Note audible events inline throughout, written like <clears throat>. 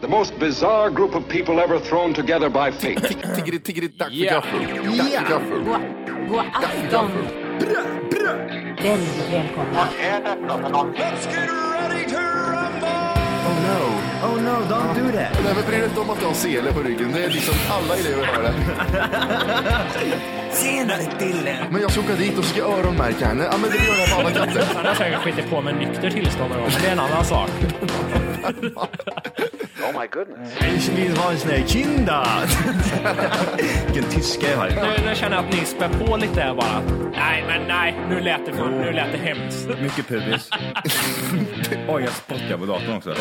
The most bizarre group of people ever thrown together by fate. Tiggeri, tiggeri, dack för Ja. gaffel. Dack för gaffel. Oh, God, god afton. Väldigt välkomna. Oh no. Oh no, don't do that. Nej, men bry dig inte om att du har sele på ryggen. Det är liksom alla elever har det. Senare Dille. Men jag ska åka dit och ska öronmärka henne. Ja, men det gör jag på alla katter. Han har säkert skitit på med nykter tillstånd någon gång, men det är en annan sak. Ich will ha sina <laughs> kinder. Vilken tyska jag har. Nu, nu känner jag att ni spär på lite här bara. Nej, men nej, nu lät det, för, nu lät det hemskt. Mycket pubis. Oj, jag spottar på datorn också.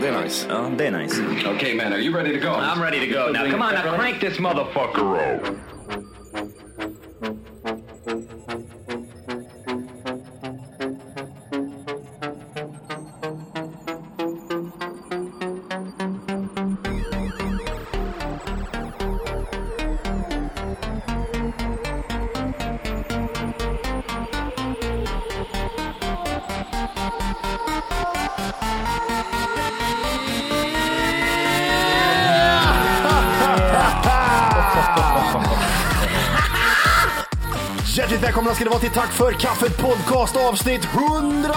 Det är nice. Ja, Mm. det är nice. okay, man, are you ready to go? I'm ready to go. Now, come on, now crank this motherfucker up. Hjärtligt välkomna ska det vara till Tack för kaffet podcast avsnitt 100!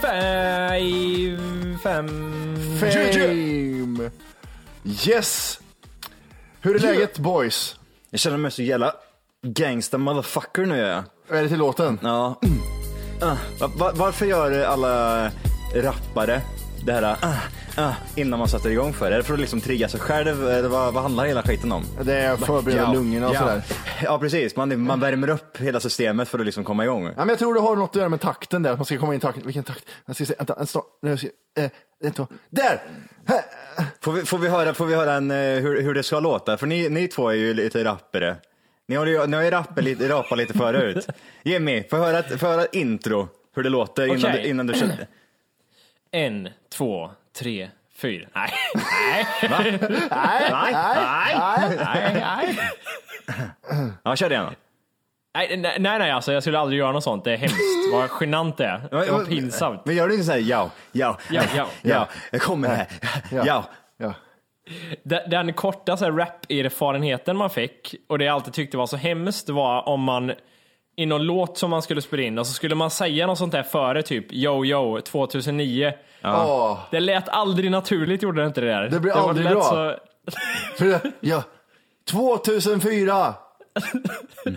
Fem... fem... Fame! Yes! Hur är läget boys? Jag känner mig så jävla gangsta motherfucker nu är jag. Är det till låten? Ja. Ah, va- va- varför gör alla rappare det här ah, ah, innan man sätter igång för det? Är det för att liksom trigga sig själv? Eller vad, vad handlar hela skiten om? Det är att förbereda lungorna och ja. sådär. Ja, precis. Man, man värmer upp hela systemet för att liksom komma igång. Ja, men jag tror det har något att göra med takten där, att man ska komma in i takten. Vilken takt? Jag ska se, vänta, en start. Nu ska, eh, en, två. Där! Här! Får vi, får vi höra, får vi höra en, eh, hur, hur det ska låta? För ni, ni två är ju lite rappare. Ni har ju, ni har ju rappat lite, rapat lite förut. Jimmy, får jag höra, ett- får jag höra ett intro? Hur det låter innan, Okej. du, innan du kör. En, två, tre, fyra. Nej. Nej, nej, nej, nej. Ja, kör det igen då. Nej, nej, nej, nej, alltså jag skulle aldrig göra något sånt. Det är hemskt. Vad genant det är. Men- Vad pinsamt. Men gör du inte såhär, ja, ja, Ja, ja. <laughs> ja, jag kommer här, ja. Ja. Den- Den korta så här, rap-erfarenheten man fick och det jag alltid tyckte var så hemskt var om man i någon låt som man skulle spela in och så skulle man säga något sånt där före typ yo yo 2009. Åh. Det lät aldrig naturligt gjorde det inte det där. Det blir var- aldrig lät bra. så- För det- Ja. 2004!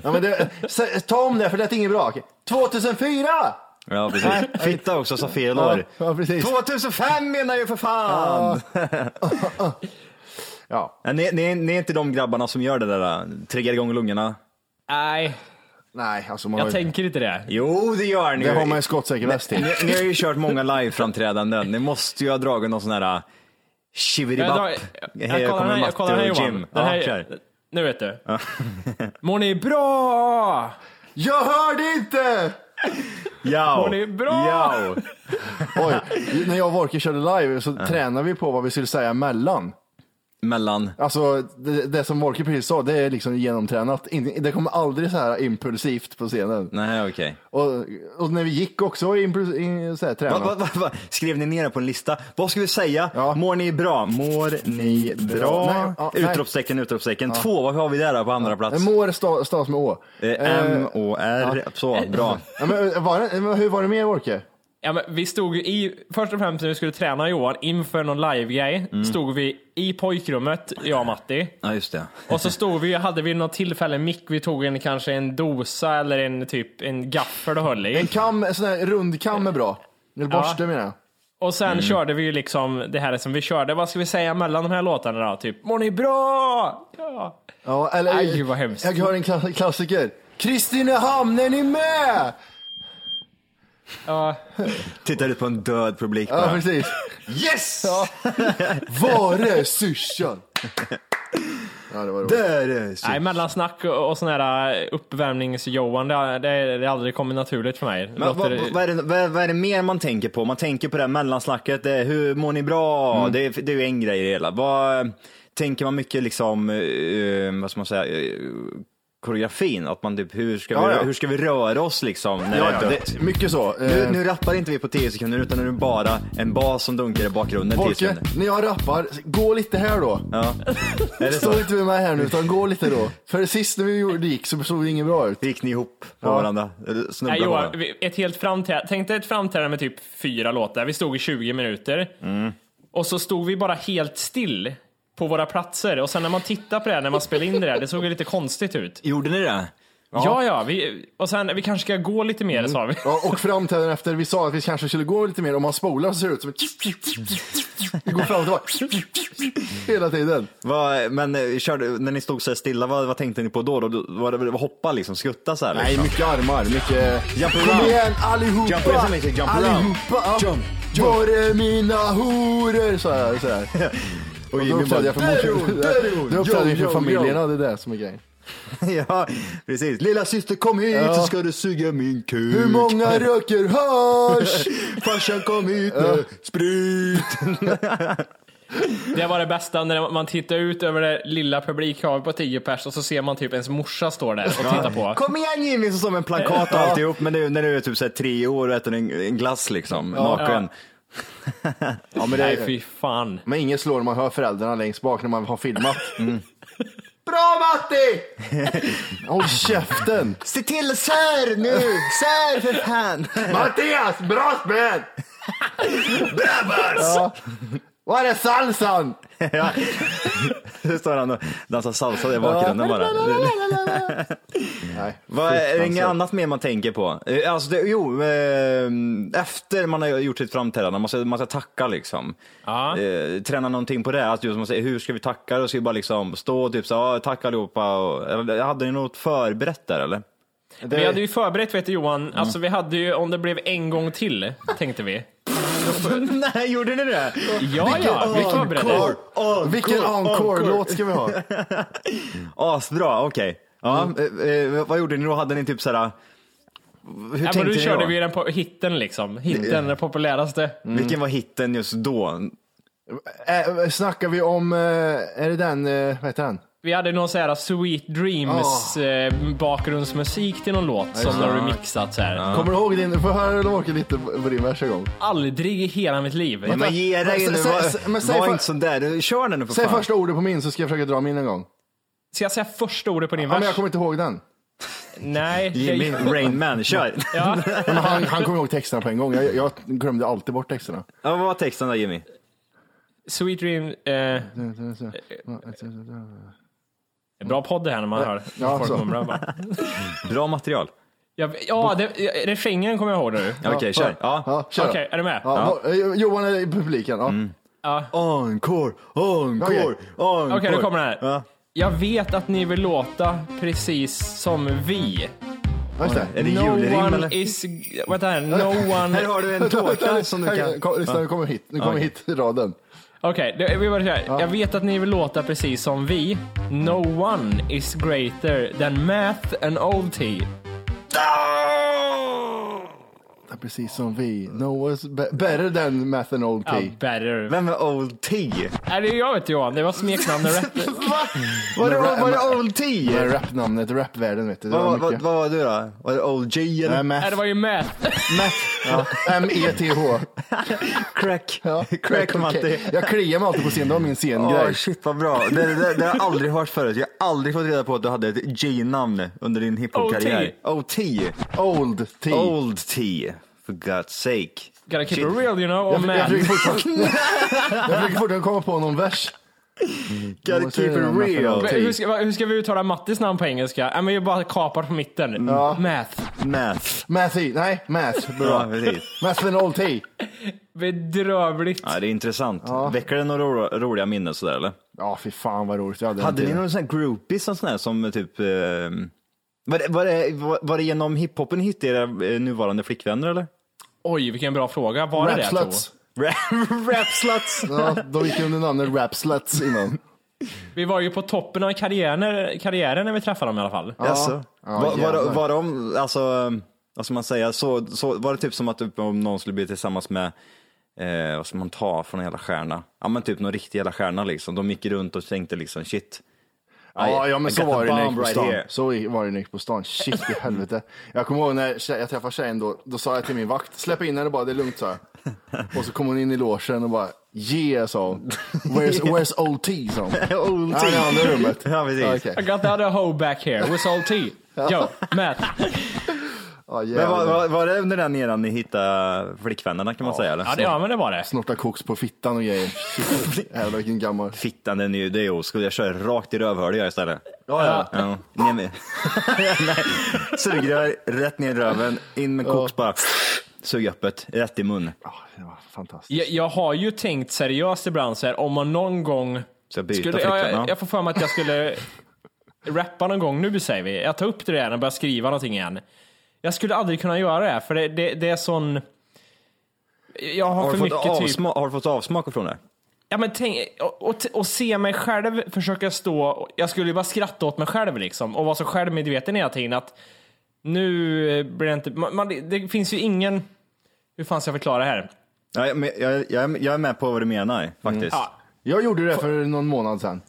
Ja, men det, sä- ta om det, för det är inget bra. Okej. 2004! Ja, Äh, Nej. precis. Fitta också, sa fel Ja, år. ja, precis. 2005 menar jag ju för fan! Ja, Ja. Ni, ni, ni är inte de grabbarna som gör det där, äh, triggar igång lungorna. Nej, nej, alltså man jag har ju, tänker inte det. Jo, det gör ni det ju. har man ju skottsäker väst till. ni, ni har ju kört många liveframträdanden. Ni måste ju ha dragit någon sån här äh, Jag, shiveribapp. drar- jag, jag, Här kollar kommer här, jag Matte kollar här och Johan. Jim. Den Ja, här, kör. nu vet du. <laughs> Mår ni bra? Jag hörde inte! Jao. Mår ni bra? Jao. Oj, när jag och Volker körde live så tränade vi på vad vi skulle säga emellan. Mellan. Alltså det, det som Volker precis sa, det är liksom genomtränat. In, det kommer aldrig så här impulsivt på scenen. Nej, okej. Och, och när vi gick också var impuls, in, så här, Va, tränat. va, va, va? Skrev ni ner det på en lista? Vad ska vi säga? Ja. Mår ni bra? Mår ni bra? Nej, ja, nej. utropstecken, utropstecken. Två, vad har vi där då på andra plats? Mår sta- stavas med å. Eh, M-O-R. Så, bra. Ja, men, eh, var det, hur var det med Wolke? Ja, men vi stod ju i, först och främst när vi skulle träna Johan inför någon live-grej, Mm. stod vi i pojkrummet, jag och Matti. Ja, just det. Och så stod vi, hade vi något tillfälle en mick, vi tog en kanske en dosa eller en typ en gaffel och höll i. En kam, en sån här rund kam är bra. Eller borste menar jag. Och Mm. sen körde vi ju liksom det här som vi körde, vad ska vi säga mellan de här låtarna då? Typ, mår ni bra? Ja. Ja, eller, Aj, vad hemskt. Jag hör en kla- klassiker. Kristinehamn, är ni med? Ja. Tittar ut på en död publik Ja, bara. precis. Yes! Ja. Vare syrsan. <laughs> Ja, det var roligt. Där är så- Nej, mellansnack och, och sån här eh, uppvärmnings-Johan, det, har- det, det har aldrig kommit naturligt för mig. Men, Låter- vad, vad, vad, är det, vad, vad är det mer man tänker på? Man tänker på det här mellansnacket, det är, hur mår ni bra? Mm. Det, är, det är ju en grej i det hela. Vad, tänker man mycket liksom, eh, vad ska man säga, eh, koreografin. Att man typ, hur ska, Ja, vi, ja. Hur ska vi röra oss liksom? När Ja, det är ja, dött? det, mycket så. Nu, Eh, nu rappar inte vi på 10 sekunder utan nu är det bara en bas som dunkar i bakgrunden. 10 Folke, sekunder. när jag rappar, gå lite här då. Ja. Är det så? Stå inte med mig här nu, utan gå lite då. För sist när vi gjorde- gick så såg det inget bra ut. Gick ni ihop på Ja. varandra? Eller Snubblade Nej, på Johan, varandra? vi- ett helt framträdande. Tänk dig ett framträdande med typ fyra låtar. Vi stod i 20 minuter. Och så stod vi bara helt still på våra platser. Och sen när man tittar på det här, när man spelar in det där, det såg ju lite konstigt ut. Gjorde ni det? Ja, ja. vi, och sen, vi kanske ska gå lite mer, sa vi. Ja, och framträdanden efter, vi sa att vi kanske skulle gå lite mer. Om man spolar så ser det ut som ett... Vi går fram och tillbaka. Hela tiden. Vad, men eh, körde, när ni stod så här stilla, vad, vad tänkte ni på då? då? Då- Var det väl hoppa liksom, skutta så här? Nej, liksom? mycket armar. Mycket... Jump Kom around. igen allihopa! Jump, det är som heter jump around. allihopa! ja. Jump, Var är mina horor? Så här, så här. <laughs> Och Då Jimmy uppträdde bara, jag för "Där är hon, där är morsan. hon, <laughs> Då uppträdde yo, jag för yo, familjerna, yo." det är det som är grejen. <laughs> ja, precis. Lilla syster kom hit Ja. så ska du suga min kuk. Hur många röker hasch? <laughs> Farsan kom hit nu, sprit! Det var det bästa, när man tittar ut över det lilla publikhavet på 10 pers och så ser man typ ens morsa står där och tittar på. <laughs> Kom igen Jimmy, så som en plakat och alltihop. Men nu, när du är typ så här tre år och äter en, en glass liksom, naken. Ja, men, det Nej, är, fy fan. men ingen slår när man hör föräldrarna längst bak när man har filmat. Mm. <laughs> Bra <laughs> Matti! Håll käften! Se till sär nu! Sär för fan! Mattias, bra spel! Brabbas! Ja. Var är salsan? <laughs> Nu står han och dansar salsa i bakgrunden bara. Nej, <laughs> Vad är det fruktansvärt. inget annat mer man tänker på? Eh, Alltså det, jo, eh, efter man har gjort sitt framträdande, man ska, man ska tacka liksom. Ja. Eh, träna någonting på det, att just man säger hur ska vi tacka? Då ska vi bara liksom stå och typ så, ah, tack allihopa. Och, eller, hade ni något förberett där eller? <laughs> Vi hade ju förberett, vet du Johan, Mm. alltså vi hade ju om det blev en gång till, tänkte vi. Nej, gjorde ni det? Ja, ja, vi förberedde. Vilken encore-låt ska vi ha? Asbra, okej. Ja, Mm. eh, eh, vad gjorde ni då? Hade ni typ såhär... Hur Ja, men tänkte då ni körde då? vi den på hitten liksom. Hitten, den populäraste. Vilken var hitten just då? Äh, snackar vi om, eh, är det den, eh, vad heter den? Vi hade någon sån här Sweet Ah. Dreams eh, bakgrundsmusik till någon låt som har remixat så här. Kommer du ihåg din, du får höra eller orka lite på din vers en gång. Aldrig i hela mitt liv. Ja, men ge dig nu, Säg- var, säg- men säg var för- inte sån där. Kör den nu för Säg fan. första ordet på min så ska jag försöka dra min en gång. Ska jag säga första ordet på din Ja, men jag vers? kommer inte ihåg den. Nej. det- Jimmy Rain Man, kör. Ja. Men han, han kommer ihåg texterna på en gång. Jag, jag glömde alltid bort texterna. Ja, vad var texten där Jimmy? Sweet Dream. Eh, bra podd det här när man hör Ja, folk så. mumla. bara. Bra material. Ja, ja det, eh, refrängen kommer jag ihåg nu. Okej, kör. Ja. Ja, kör. Okej, är du med? Ja, Mm. eh, Johan är i publiken. Ja. Encore, encore, Okej. encore. Okej, nu kommer den här. Ja. Jag vet att ni vill låta precis som vi. Ja, just det. Är det no julrim one eller? is... Vänta här. <laughs> No Här one... har du <laughs> en tårta som du Här, kan... kom, lyssna, nu kommer hit, nu kommer Okej. hit raden. Okej, det- vi börjar så här. Jag vet att ni vill låta precis som vi. No one is greater than math and old tea. Det är precis som vi. No one's be- better than math and old Ja, tea. better. Vem är Old T? Nej, det är jag vet Johan. Det var smeknamnet <laughs> rätt. Va? Var det, var det Old T? Det är rapnamnet, rapvärlden vet du. Det Vad var vad- vad mycket. var du då? Var det Old J Nej, eller? Nej, Äh, det math. var ju math. Ja, M-E-T-H. Crack. Ja. <laughs> Crack Okej. Matti. Jag kliar mig alltid på scen, det var min Åh scengrej. shit vad bra. Det, det, det, har jag aldrig hört förut. Jag har aldrig fått reda på att du hade ett J-namn under din hiphop-karriär. O-T. Old tea. Old T. For God's sake. Gotta keep Shit. it real you know. Och Jag, jag, math. försöker fortfarande, jag försöker fortfarande komma på någon vers. Gotta måste keep jag göra it med real. Men Hur ska, vad- hur ska vi uttala Mattis namn på engelska? Nej, men jag bara kapar på mitten. Math. Math. Mathy, nej, math. Ja, Bra. precis. Math and old tea. Bedrövligt. Ja, det är intressant. Väcker det några ro- roliga minnen sådär eller? Ja, fy fan vad roligt. Jag hade Hade inte- ni någon sån här groupies som sån här som typ eh, var det, var, det, var- var det genom hiphopen ni hittade era eh, nuvarande flickvänner <laughs> eller? Oj, vilken bra fråga. Var det det? Rap jag tror? sluts. Rapsluts! Ja, de gick under namnet rap sluts innan. Vi var ju på toppen av karriären, karriären när vi träffade dem i alla fall. Alltså, Ja, var, var, jävlar. var de, alltså, eh, vad ska man säga, så, så, var det typ som att typ, om någon skulle bli tillsammans med, eh, vad ska man ta från en jävla stjärna? Ja men typ någon riktig jävla stjärna liksom. De gick runt och tänkte liksom shit, Ja, ja men I så got the var det när jag bomb gick på right stan. here. så var det när jag gick på stan. Shit i helvete. Jag kommer ihåg när tje- jag träffade tjejen då, då sa jag till min vakt, släpp in henne bara, det är lugnt sa jag. Och så kom hon in i logen och bara, yeah sa hon. <laughs> Where's, where's OT sa hon. OT. Ja, i andra rummet. <laughs> Ja, precis. Ja, okej. I got the other hoe back here. With all tea. Yo, Matt. Ja, Men var, jävlar. var, var det under den eran ni hittade flickvännerna kan man säga? Eller? Ja, det, ja men det var det. Snorta koks på fittan och grejer. <laughs> Shit, Jävlar vilken gammal. Fittan den är ju, det är oskuld. Jag kör rakt i rövhålet jag istället. Ja, ja. Ja, ner med. <laughs> Nej, Sugrör rätt ner i röven, in med koks bara. Sug öppet, rätt i mun. Ja, det var fantastiskt. Jag, jag har ju tänkt seriöst ibland så här, om man någon gång... Så jag byter skulle, flickvän, jag, ja. jag, jag får för mig att jag skulle rappa någon gång. Nu säger vi, jag tar upp det där och börjar skriva någonting igen. Jag skulle aldrig kunna göra det, här, för det, det, det är sån... Jag har, Har du, för fått mycket typ... avsma- har du fått avsmak från det? Ja, men tänk, och, och, och se mig själv försöka stå, jag skulle ju bara skratta åt mig själv liksom och vara så självmedveten hela tiden att nu eh, blir det inte, man, man, det finns ju ingen, hur fan ska jag förklara det här? Ja, jag, men jag, jag, jag är med på vad du menar faktiskt. Ja, Jag gjorde det för någon månad sedan.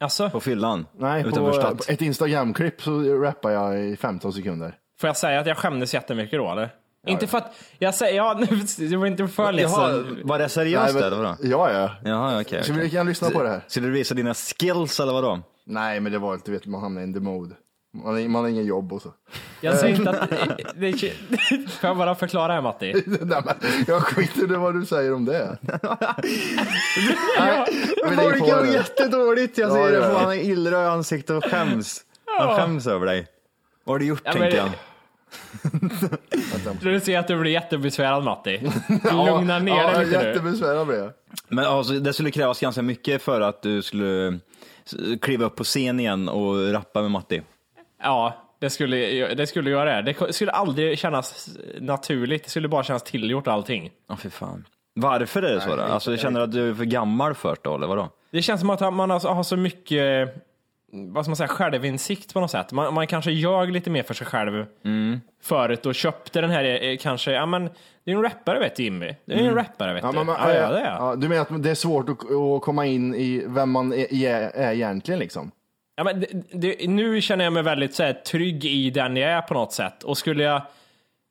alltså, På fyllan? Nej, på, Utanför på stat? ett Instagram-klipp så rappade jag i 15 sekunder. får jag säga att jag skämdes jättemycket då eller? inte för att, jag säger, ja, <laughs> nu, jag var inte för liksom. ledsen. Jaha, var det seriöst Nej, eller vadå? Ja, ja. Jaha, okej. Så Okay, vi kan lyssna på det här. Skulle du visa dina skills eller vadå? Nej, men det var inte, du vet, man hamnar in the mode. Man, har- man har ingen jobb och så. <laughs> Jag säger inte att, det, det, får jag bara förklara det här Matti? Nej, men jag skiter i vad du säger om det. <laughs> Nej, vi lägger på Folk det. jättedåligt, jag Ja, ser ja, det på ja. han har illröd ansikte och skäms. Han skäms över dig. Vad har du gjort Ja, men tänker det- jag. Du ser att du blir jättebesvärad Matti. Lugna ner <laughs> ja, dig lite nu. Jättebesvärad blev jag. Men alltså, det skulle krävas ganska mycket för att du skulle s- kliva upp på scen igen och rappa med Matti. Ja, det skulle, det skulle göra det. Det skulle aldrig kännas naturligt. Det skulle bara kännas tillgjort allting. Ja, fy fan. Varför är det så då? Alltså, känner du att du är för gammal för det eller vadå? Det känns som att man alltså har så mycket vad ska man säga, självinsikt på något sätt. Man, man kanske ljög lite mer för sig själv Mm. förut och köpte den här eh, kanske, ja men det är en rappare vet du Jimmy. Det är en rappare vet du. Mm. Ja, men, man- ja, ja, det är. jag. ja, du menar att det är svårt att, att komma in i vem man är, är, är egentligen liksom? Ja, men det, det, nu känner jag mig väldigt så här, trygg i den jag är på något sätt. Och skulle jag...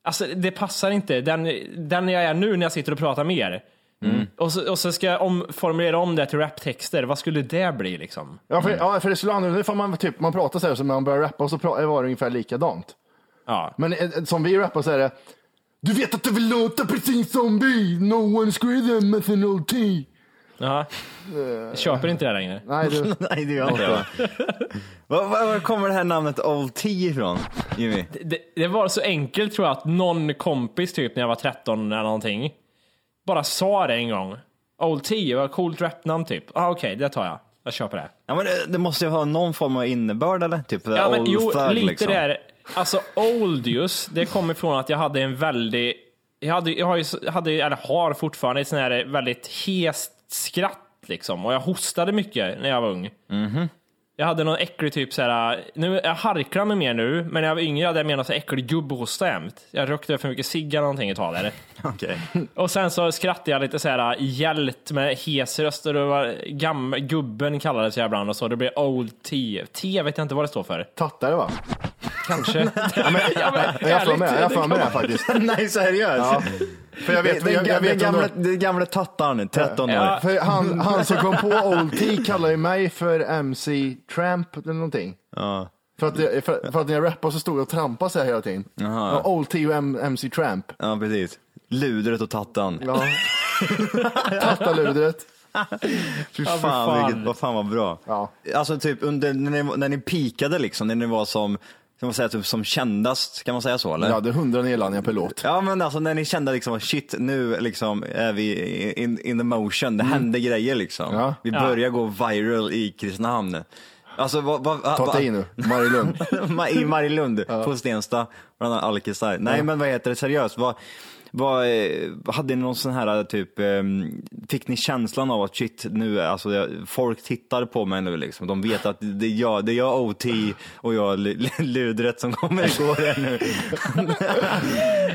Alltså det passar inte. Den, den jag är nu när jag sitter och pratar med er. Och, så, och så ska jag om, formulera om det till raptexter. Vad skulle det bli liksom? Ja, för, ja, för det skulle annorlunda ifall man, typ, man pratar så här, så när man börjar rappa och så pra- var det ungefär likadant. Ja. Men eh, som vi rappar så är det, du vet att du vill låta precis som vi, no one's greater methanol tea. Jaha. Jag köper inte det längre. Nej, <laughs> du, <laughs> Nej, det gör jag inte det. va? Var, var, var kommer det här namnet Old T ifrån, Jimmy? Det, det var så enkelt tror jag att någon kompis typ när jag var 13 eller någonting. Bara sa det en gång. Old T, vad coolt rapnamn typ. Ah, Okej, det tar jag. Jag köper det. Ja, men det, det måste ju ha någon form av innebörd eller? Typ Ja, men, old jo, thug, lite liksom. där. Alltså old just, det kommer från att jag hade en väldigt, jag, hade, jag har ju, hade, eller har fortfarande ett sån här väldigt hest skratt liksom. Och jag hostade mycket när jag var ung. Mhm. Jag hade någon äcklig typ så här, nu, jag harklar mig mer nu, men när jag var yngre hade jag mer någon så här äcklig gubbhosta jämt. Jag rökte för mycket cigg eller någonting ett tag där. Okej. <laughs> Och sen så skrattade jag lite så här hjält med hes röst och det var gam, gubben kallades jag ibland och så. Det blev old T. T vet jag inte vad det står för. tattare va? <laughs> Kanske. ja, men, Jag har för mig jag har det för mig det kan vara- här faktiskt. Nej, seriöst? Ja. För jag vet, Den, jag, jag den vet om gamla, några- den gamla tattarn, 13 år. Ja. för han, han som kom på Old T kallar ju mig för MC Tramp eller någonting. Ja. För att, jag, för, för att när jag rappade så stod jag och trampade så här hela tiden. Jaha. Ja, Old T och M, MC Tramp. Ja, precis. Ludret och tattan. Ja. Tattaludret. Fy för fan, fan. Vilket, vad fan vad bra. Ja. Alltså typ under, när, ni, när ni pikade liksom, när ni var som, kan man säga, typ, som kändast, kan man säga så eller? Jag hade hundra nedladdningar per låt. <laughs> Ja men alltså när ni kände liksom shit nu liksom är vi in, in the motion, det hände grejer liksom. Mm. Ja. Vi Ja. börjar gå viral i Kristinehamn. Alltså vad... vad Ta vad- till nu, Marilund. <laughs> Ma- I Marilund, på Stensta, bland annat alkisar. Nej men vad heter det, seriöst, vad, vad, eh, hade ni någon sån här typ, eh, fick ni känslan av att shit nu, är- alltså jag- folk tittar på mig nu liksom, de vet att det är jag, det är jag OT och jag L- L- <laughs> Ludret som kommer gå här nu.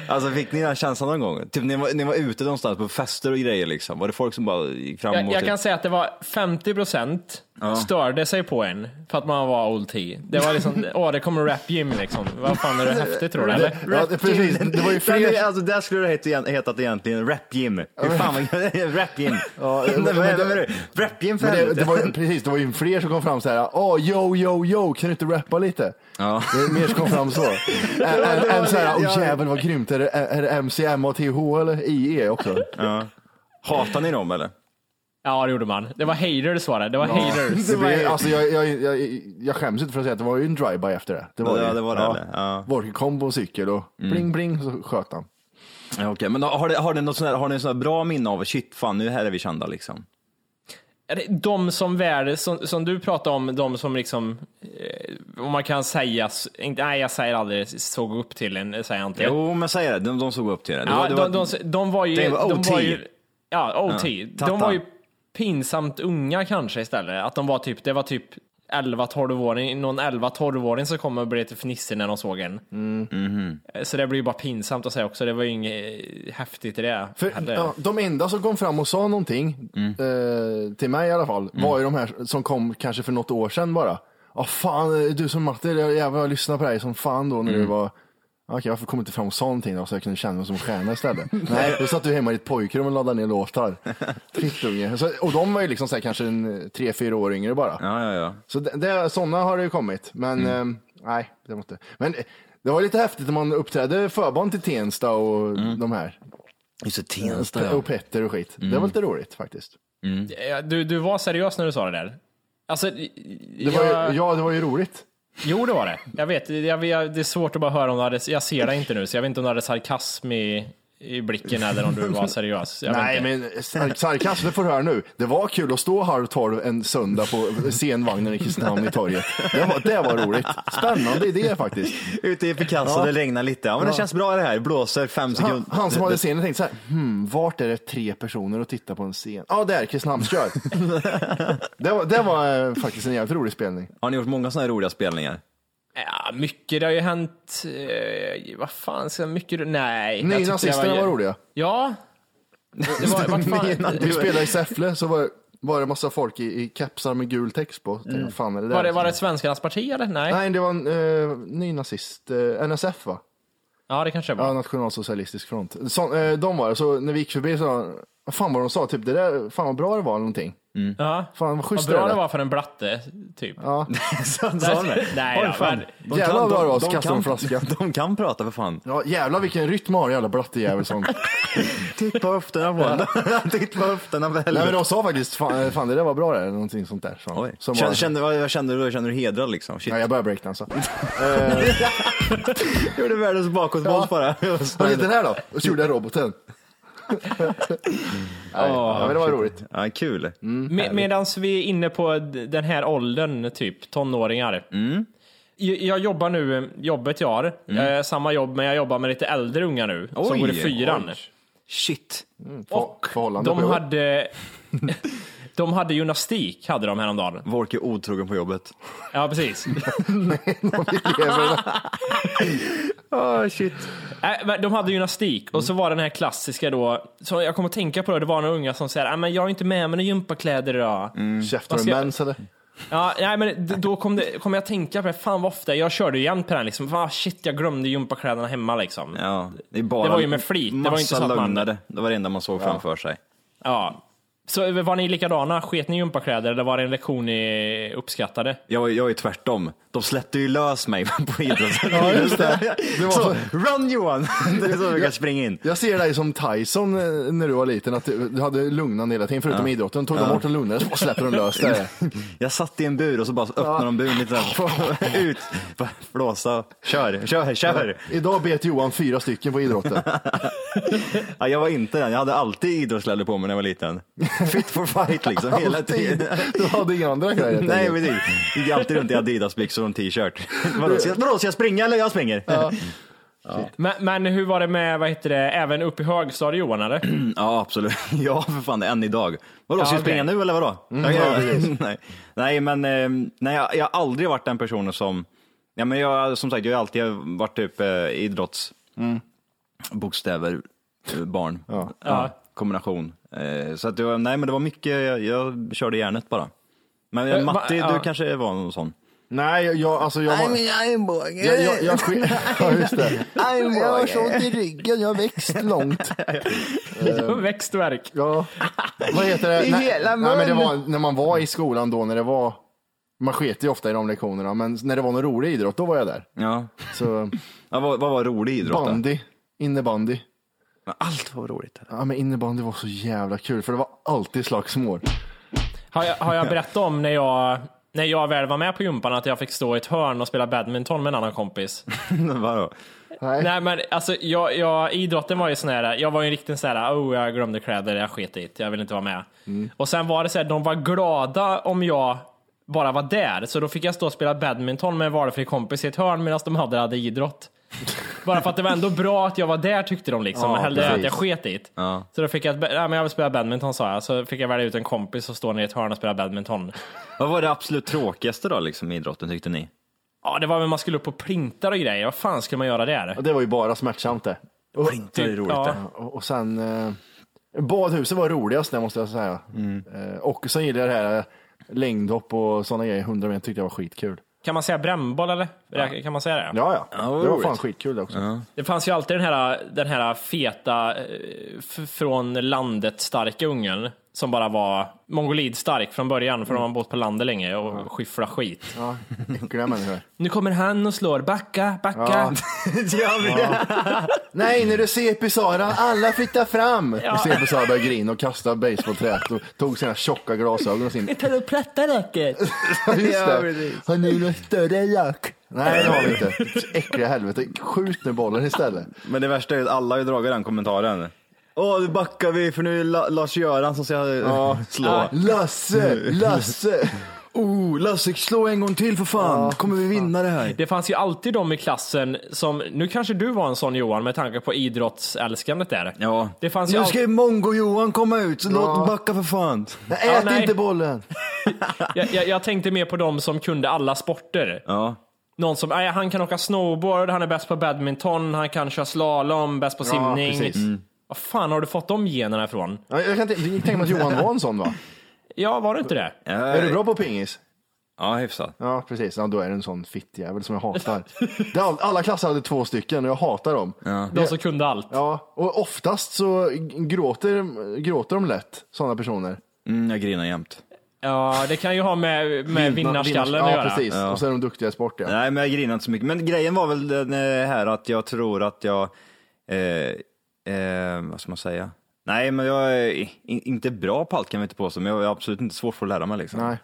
<laughs> alltså fick ni den här känslan någon gång? Typ ni var, ni var ute någonstans på fester och grejer liksom, var det folk som bara gick fram och Jag, jag typ- kan säga att det var 50 procent störde sig på en för att man var old T. Det var <laughs> liksom, åh det kommer rap gym liksom. Vad fan är det häftigt tror du eller? Ja, det, precis. Det var ju Där, är- fler. alltså, där skulle det heta igen- hetat egentligen Rap-Jim. Hur fan vad <laughs> Rap-Jim. Ja, Nej, men- vad men- är det? Rap-Jim för Men det, det helvete. var <laughs> ju, precis, det var ju fler som kom fram så här. Åh, yo, yo, yo, kan du inte rappa lite? Ja. Det är mer som kom fram <laughs> så. Än- Än än så här, åh ja. jävel vad grymt, är det, är det MCMATH eller IE <laughs> också? Hatar ni dem eller? Ja det gjorde man. Det var haters var det. Det var haters. Det E. blir, alltså, jag, jag, jag, jag skäms inte för att säga att det var ju en drive-by efter det. Det Ja, det var det, eller? Ja. Mm. Volker kom på en cykel och bling bling så sköt han. Ja, okej, men har, det, har, det något sån här, har ni sådana bra minne av shit fan nu här är vi kända liksom? Är det De som värde, som, som du pratade om, de som liksom, eh, om man kan säga, s- inte, nej jag säger aldrig såg upp till en, säger jag inte. Jo men säg det, de, de såg upp till det. det, Ja, var, det var, de, de, de var ju... Det de var var OT. ju ja, OT. Ja, de Tattan. var ju pinsamt unga kanske istället. Att de var typ, det var typ 11-12-åring, någon 11-12-åring som kom och blev lite fnissig när de såg en. Mm. Eh, Så det blir ju bara pinsamt att säga också. Det var ju inget eh, häftigt i det. För, heller. ja, de enda som kom fram och sa någonting, eh, till mig i alla fall, var ju de här som kom kanske för något år sedan bara. Ja fan, eh, du som Matte, jag, jävlar, jag lyssnade på dig som fan då när du var Okej, varför kom du inte fram och sa någonting då så jag kunde känna mig som en stjärna istället? Nej, då satt du hemma i ditt pojkrum och laddade ner låtar. Fittunge. Så- Och de var ju liksom så här, kanske en tre, fyra år yngre bara. ja, ja, ja. Så det, det, sådana har det ju kommit. Men ehm, nej, det var inte. Men eh, det var lite häftigt när man uppträdde förband till Tensta och de här. Just det, Tensta ja. Och Petter och skit. Det Mm. var lite roligt faktiskt. Ja, Du, du var seriös när du sa det där. Alltså, Det var jag- ju, ja, det var ju roligt. Jo, det var det. Jag vet, jag, jag, det är svårt att bara höra om du hade, jag ser dig inte nu, så jag vet inte om du hade sarkasm i, i blicken eller om du var seriös. Jag vet Nej, inte. men sar- sarkasm, det får du höra nu. Det var kul att stå halv tolv en söndag på scenvagnen i Kristinehamn i torget. Det var, det var roligt. Spännande idé faktiskt. Ute i Picasso, det regnar lite. Ja men det känns bra det här, blåser fem sekunder. Han, han som hade scenen tänkte så här, hmm, vart är det tre personer och tittar på en scen? Ja, där, <laughs> Kristinehamnskör. det, var, det var eh, faktiskt en jävligt rolig spelning. Har ni gjort många sådana här roliga <laughs> spelningar? Ja, mycket. Det har ju hänt... Eh, vad fan ska mycket... Nej. jag Ni tyckte det nazisterna var, ju- roliga. Ja. Det var, <laughs> vad fan, Vi spelade i Säffle, så var, var det massa folk i, i kepsar med gul text på. Tänkte, Mm. vad fan är det där? var, det, var det Svenskarnas parti eller? Nej. Nej, det var en eh, ny nazist, eh, NSF va? Ja, det kanske det var. Ja, Nationalsocialistisk front. Så, eh, de var det, så när vi gick förbi så, vad fan vad de sa, typ det där, fan vad bra det var eller någonting. Ja. Fan vad Vad schysst bra det där. var för en blatte, typ. Så- sa han det? Nej, Oj, ja, fan. men- De kan- Jävlar vad de- bra det var, så de kastade de en kan- flaska. <laughs> De kan prata för fan. Ja, jävlar vilken rytm har jävla blattejävel som. <laughs> Titt på höfterna på honom. <laughs> Titt på höfterna på Nej men helvete. de sa faktiskt, fan, eh, fan det där var bra det, eller någonting sånt där. Så, Oj. Kände, kände, vad, vad kände du då? Kände du dig hedrad liksom? Shit. ja, jag började breakdansa. <laughs> Gjorde världens bakåtvolt Ja. bara. <laughs> Vad heter den här då? Och så gjorde jag <laughs> roboten. Nej, ja, men det var roligt. Ja, kul. Med, Medan vi är inne på d- den här åldern, typ tonåringar. Jag, jag jobbar nu, eh, jobbet jag har, eh, samma jobb, men jag jobbar med lite äldre unga nu, som Oj, går i fyran. oj. Shit. För, förhållande på De jobb. <laughs> hade, <laughs> de hade gymnastik, hade de häromdagen. Volke är otrogen på jobbet. Ja, precis. <laughs> Oh, shit. Äh, men De hade gymnastik och så var den här klassiska då, som jag kommer att tänka på det, det var några unga som säger "Ah, men jag är inte med mig några gympakläder idag. Käften och ska- Mm. mens eller? Ja, nej, men d- då kom, det, kom jag att tänka på det, fan vad ofta, jag körde ju jämt på den liksom, fan shit jag glömde gympakläderna hemma liksom. Ja. Ja, det, är bara Det var ju med flit, det var massa inte så att man- lögnare. Det var det enda man såg framför sig. Så eh, var ni likadana, sket ni i gympakläder eller var det en lektion ni uppskattade? Jag, var- jag är tvärtom. De släppte ju lös mig <laughs> på idrotten. Ja, just det. det var så, så... run Johan! <laughs> det är så vi kan springa in. Jag ser dig som Tyson eh, när du var liten, att du du hade lugnande hela tiden förutom idrotten. Tog de bort en lugnare så bara släpper de lös det. Jag satt i en bur och så bara öppnade de buren lite <laughs> där. Ut, bara flåsa. <laughs> Kör, kör, kör. Idag bet Johan fyra stycken på <laughs> idrotten. Ja, jag var inte den. Jag hade alltid idrottskläder på mig när jag var liten. Fit for fight liksom, hela tiden. Du hade inga andra grejer. helt <laughs> Nej, enkelt. men det gick alltid runt i Adidas-byxor och en t-shirt. Vadå, ska, jag- vadå, ska jag springa eller jag springer? Ja, Men, men hur var det med, vad heter det, även upp i högstadiet Johan eller? absolut. <laughs> Ja, för fan, det är än idag. Vadå, Ja, ska jag okej. springa nu eller vadå? ja, <laughs> nej. nej, men eh, nej, jag, jag har aldrig varit den personen som, ja, men jag, som sagt, jag har alltid varit typ eh, idrotts, bokstäver, eh, barn, ja. kombination. Eh, så att det var, nej, men det var mycket, jag, jag körde järnet bara. Men Eh, va- Matti, ja. du kanske var någon sån? Nej, jag, alltså jag var... Einbåge. Jag, jag, jag, sk- <laughs> ja, just det. jag har så ont i ryggen, jag har växt långt. <laughs> Växtverk. Ja. Vad heter det? I Nej, hela nej, men det mun. var när man var i skolan då, när det var... Man sket ju ofta i de lektionerna, men när det var någon rolig idrott, då var jag där. Ja. Så Ja, vad, vad var rolig idrott då? bandy, innebandy. Men Allt var roligt. Ja, men innebandy var så jävla kul, för det var alltid slagsmål. Har jag, har jag berättat om när jag, när jag väl var med på gympan att jag fick stå i ett hörn och spela badminton med en annan kompis? <laughs> Vadå? Nej. Nej men alltså, jag, jag, idrotten var ju sån här, jag var ju en riktig sån här, oh jag glömde kläder, jag sket i det, jag vill inte vara med. Mm. Och sen var det så här, de var glada om jag bara var där, så då fick jag stå och spela badminton med en valfri kompis i ett hörn medan de andra <laughs> hade idrott. Bara för att det var ändå bra att jag var där tyckte de liksom, Ja, hellre att precis. jag sket i det. Ja. Så då fick jag, ett ba- ja, men jag vill spela badminton sa jag, så fick jag välja ut en kompis och stå ner i ett hörn och spela badminton. Vad var det absolut tråkigaste då, liksom, i idrotten tyckte <laughs> ni? Ja, det var väl man skulle upp på printar och grejer. Vad fan skulle man göra där? Typ, Ja, Det var ju bara smärtsamt det. Och, Inte det är roligt ja. det. och och sen, eh, badhuset var roligast det måste jag säga. Eh, och sen gillade jag det här eh, längdhopp och sådana grejer, 100 meter tyckte jag var skitkul. Kan man säga brännboll eller? Kan man säga det? Ja, ja. det var det var roligt. fan skitkul det också. Det fanns ju alltid den här, den här feta eh, f- från landet starka ungen som bara var mongolidstark från början för de har bott på landet länge och skyfflat skit. Ja, äckliga människor. Nu kommer han och slår, backa, backa. Nej, när du CP-Sara, alla flyttar fram! Och CP-Sara började grina och kasta basebollträet och tog sina tjocka glasögon och sin... Tar du platta racket? Just det. Har ni något större jack? Nej, det har vi inte. <laughs> Äckliga helvete. Skjut nu bollen istället. Men det värsta är att alla har ju dragit den kommentaren. Åh, nu backar vi för nu är La- Lars-Göran som ska Ah. ja. slå. <laughs> Lasse, Lasse! Oh, Lasse, slå en gång till för fan. Kommer vi vinna det här? Det fanns ju alltid de i klassen som, nu kanske du var en sån Johan med tanke på idrottsälskandet där. Ja. Det fanns ju nu all- ska ju Mongo-Johan komma ut, så låt backa för fan. Nej, ät nej. inte bollen! jag, jag, jag tänkte mer på de som kunde alla sporter. Ja. Någon som, nej, han kan åka snowboard, han är bäst på badminton, han kan köra slalom, bäst på simning. precis. Vad fan har du fått de generna ifrån? Ja, Jag kan inte tänka mig att Johan var en sån va? Ja, var det inte det? Är du bra på pingis? Ja, hyfsat. Ja, precis. Ja, då är du en sån fittjävel som jag hatar. Det är all- Alla klasser hade två stycken och jag hatar dem. De som kunde allt. Ja, och oftast så gråter, gråter de lätt, sådana personer. Mm, jag grinar jämt. Ja, det kan ju ha med, med vinnarskallen att Ja, göra. precis. Och så är de duktiga i sport. Ja. Nej, men jag grinar inte så mycket. Men grejen var väl den eh, här att jag tror att jag, eh, eh, vad ska man säga? Nej, men jag är in, inte bra på allt kan vi inte påstå, men jag är absolut inte svårt för att lära mig liksom. Nej.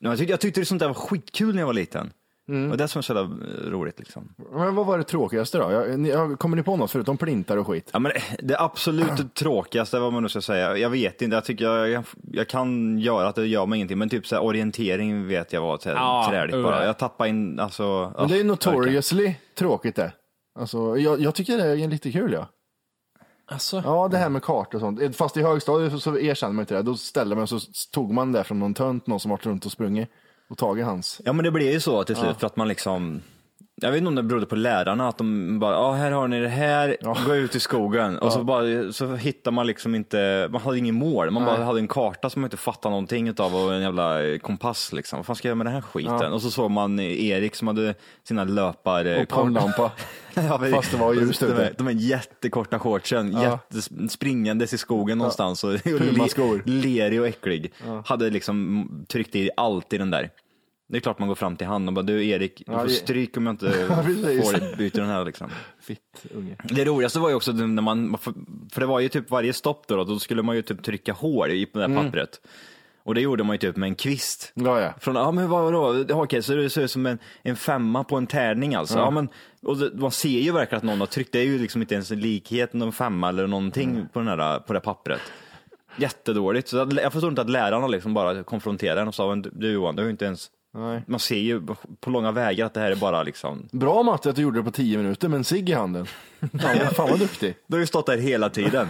Men Jag tyckte, jag tyckte det sånt där var skitkul när jag var liten. Det var det som var så jävla eh, roligt liksom. Men vad var det tråkigaste då? Jag, ni- jag, kommer ni på något förutom plintar och skit? Ja, men eh, det <clears throat> absolut tråkigaste, vad man nu ska säga, jag vet inte, jag tycker jag, jag, jag kan göra att det gör mig ingenting, men typ så här, orientering vet jag var Ja, ja, träligt ur. bara. Jag tappade in, alltså. Men det är ju ah, verkligen. notoriously tråkigt det. Alltså, jag, jag tycker det är lite kul ja. Alltså, Ja, det här med kartor och sånt. Eh, Fast i högstadiet så, så erkände man inte det. Då ställde man så tog man det från någon tönt, någon som varit runt och sprungit och tagit hans. Ja men det blir ju så till slut för att man liksom jag vet inte om det berodde på lärarna, att de bara, ja här har ni det här, gå ut i skogen. Och så, bara, så hittar man liksom inte, man hade ingen mål, man bara hade en karta som man inte fattade någonting utav och en jävla kompass liksom. Vad fan ska jag göra med den här skiten? Och så såg man Erik som hade sina löpar... eh, Och pannlampa. Ja, men- Fast det var ljust de, ute. här- de här jättekorta shortsen, jättes- springandes i skogen någonstans och, <laughs> och Pumaskor. le, lerig och äcklig. Hade liksom tryckt i allt i den där. Det är klart man går fram till han och bara, du Erik, du får det- stryk om jag inte <laughs> precis. får dig byta den här liksom. Fitt unge. Det roligaste var ju också när man, för- för det var ju typ varje stopp då, då skulle man ju typ trycka hål i på det här Mm. pappret. Och det gjorde man ju typ med en kvist. Ja, ja. Från, ja men vad då? Ja, Okej, så det ser ut som en, en femma på en tärning alltså. Ja, men, och det, man ser ju verkligen att någon har tryckt, det är ju liksom inte ens en likhet, någon femma eller någonting Mm. på, den här, på det här pappret. Jättedåligt. Så att- jag förstår inte att lärarna liksom bara konfronterade en och sa, "Men du- du Johan, du har ju inte ens, Nej. man ser ju på långa vägar att det här är bara liksom, Bra Matte att du gjorde det på 10 minuter med en cigg i handen. Fan, vad- fan vad duktig. du har ju stått där <laughs> hela tiden.